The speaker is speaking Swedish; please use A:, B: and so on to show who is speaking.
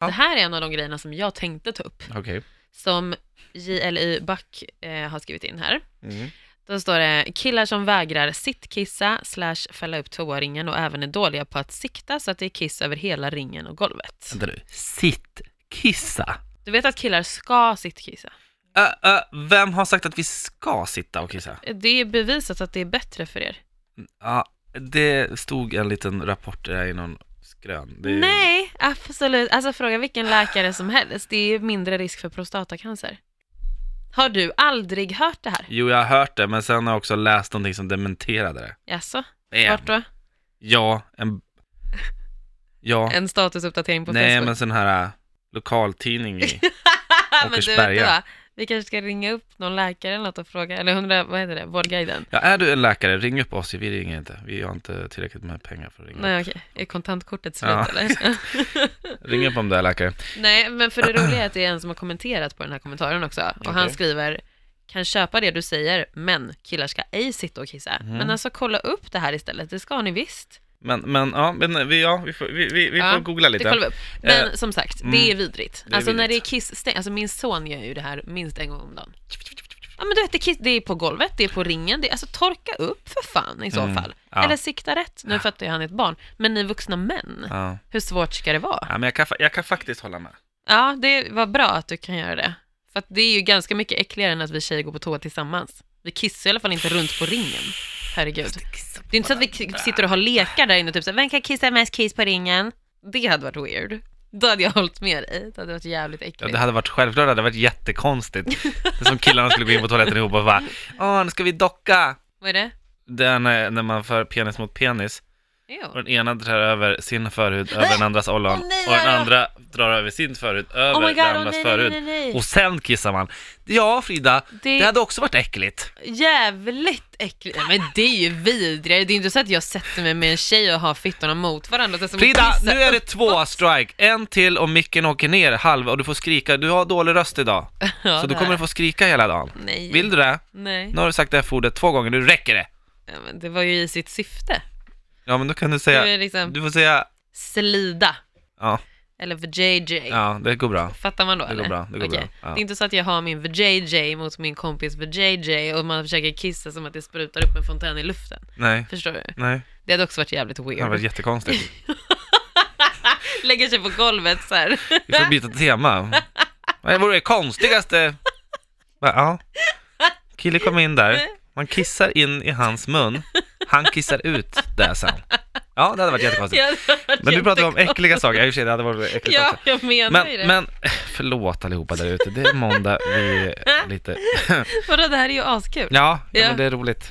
A: Ja.
B: Det här är en av de grejerna som jag tänkte ta upp,
A: Okej.
B: som JLY Back eh, har skrivit in här.
A: Mm.
B: Då står det killar som vägrar sittkissa slash fälla upp toaringen och även är dåliga på att sikta så att det är kiss över hela ringen och golvet.
A: Vänta nu. Sitt. Kissa.
B: Du vet att killar ska sittkissa?
A: Ö, ö, vem har sagt att vi ska sitta och kissa?
B: Det är bevisat att det är bättre för er.
A: Ja, det stod en liten rapport där i någon skrön. Det är ju-
B: Nej, absolut. Alltså fråga vilken läkare som helst. Det är mindre risk för prostatacancer. Har du aldrig hört det här?
A: Jo, jag har hört det, men sen har jag också läst någonting som dementerade det.
B: Jaså?
A: Nej,
B: Vart då?
A: Ja, en... Ja.
B: En statusuppdatering på
A: Nej, men
B: Facebook?
A: sån här äh, lokaltidning i...
B: men du, vet
A: Åkersberga.
B: du vad? Vi kanske ska ringa upp någon läkare eller något och fråga, eller undra, vad heter det, Vårdguiden?
A: Ja, är du en läkare, ring upp oss. Vi ringer inte. Vi har inte tillräckligt med pengar för att ringa.
B: Nej okej, är kontantkortet slut
A: Mm. Ja.
B: eller?
A: Ring upp om du är läkare.
B: Nej, men för det roliga är att det är en som har kommenterat på den här kommentaren också. Och han
A: Okej.
B: skriver, kan köpa det du säger, men killar ska ej sitta och kissa.
A: Mhm.
B: Men alltså kolla upp det här istället, det ska ni visst.
A: Men, men, ja, men vi, ja, vi får, vi, vi, vi
B: Ja,
A: får googla
B: Det
A: lite.
B: kollar vi upp. Men som sagt, det är
A: mm.
B: vidrigt.
A: Det är
B: alltså när det är
A: vidrigt.
B: kissstäng, alltså min son gör ju det här minst en gång om dagen. Ja men du vet, det, är kiss, det är på golvet, det är på ringen, det är, alltså torka upp för fan i så
A: Mm,
B: fall.
A: ja.
B: Eller sikta rätt, nu fattar jag han är ett barn. Men ni vuxna män,
A: Ja.
B: hur svårt ska det vara?
A: ja, men jag kan, fa- jag kan faktiskt hålla med.
B: Ja, det var bra att du kan göra det. För att det är ju ganska mycket äckligare än att vi tjejer går på toa tillsammans. Vi kissar i alla fall inte runt på ringen. Herregud. Det är inte så att vi k- sitter och har lekar där inne, typ så här, vem kan kissa mest kiss på ringen? Det hade varit weird. Då hade jag hållit med dig. Det hade varit jävligt
A: Ja,
B: äckligt.
A: det hade varit självklart, det hade varit jättekonstigt. Det är som killarna skulle gå in på toaletten ihop och bara Åh, nu ska vi docka!
B: Vad är det?
A: Det är när, när man för penis mot penis och
B: Jo.
A: den ena drar över sin förhud över den andras ollon
B: Åh, nej,
A: och den
B: nej, nej.
A: andra drar över sin förhud över
B: Oh my god,
A: den
B: oh,
A: andras
B: nej, nej,
A: förhud.
B: nej, nej.
A: Och sen kissar man. Ja, Frida,
B: Det-
A: det... hade också varit äckligt.
B: Jävligt äckligt. Nej, Men det är ju vidrigare. Det är inte så att jag sätter mig med en tjej och har fittorna mot varandra. Det är som att
A: Frida,
B: kissa
A: nu är det
B: upp.
A: två strike. En till och micken åker ner halva och du får skrika. Du har dålig röst idag,
B: Ja, det
A: så du
B: här-
A: kommer att få skrika hela dagen.
B: Nej.
A: Vill du det?
B: Nej.
A: Nu har du sagt det här ordet två gånger, nu räcker det.
B: Ja, men det var ju i sitt syfte.
A: Ja, men då kan du
B: Det var ju
A: säga...
B: liksom
A: Du får säga...
B: slida.
A: Ja,
B: Eller vajayjay.
A: ja det går bra.
B: Fattar man då
A: Det går
B: eller?
A: bra, det går
B: Okej.
A: bra, ja.
B: Det är inte så att jag har min vajayjay mot min kompis vajayjay och man försöker kissa som att det sprutar upp en fontän i luften.
A: Nej,
B: Förstår du?
A: nej.
B: Det hade också varit jävligt
A: Det hade
B: weird.
A: varit jättekonstigt.
B: Lägger sig på golvet så här.
A: Vi får byta tema. Vad vore det konstigaste? Va, Ja. Kille kom in där. Man kissar in i hans mun. Han kissar ut det sen. Ja, det hade varit jättekonstigt.
B: Ja, det hade varit
A: Men du pratade om
B: jättekonstigt.
A: äckliga saker. Ja, i och för sig, det hade varit äckligt
B: Ja,
A: också.
B: jag menar ju det.
A: Men, men, förlåt allihopa där ute. Det är måndag. Vi är lite...
B: Vadå, det här är ju askul.
A: Ja, ja,
B: Ja.
A: men det är roligt.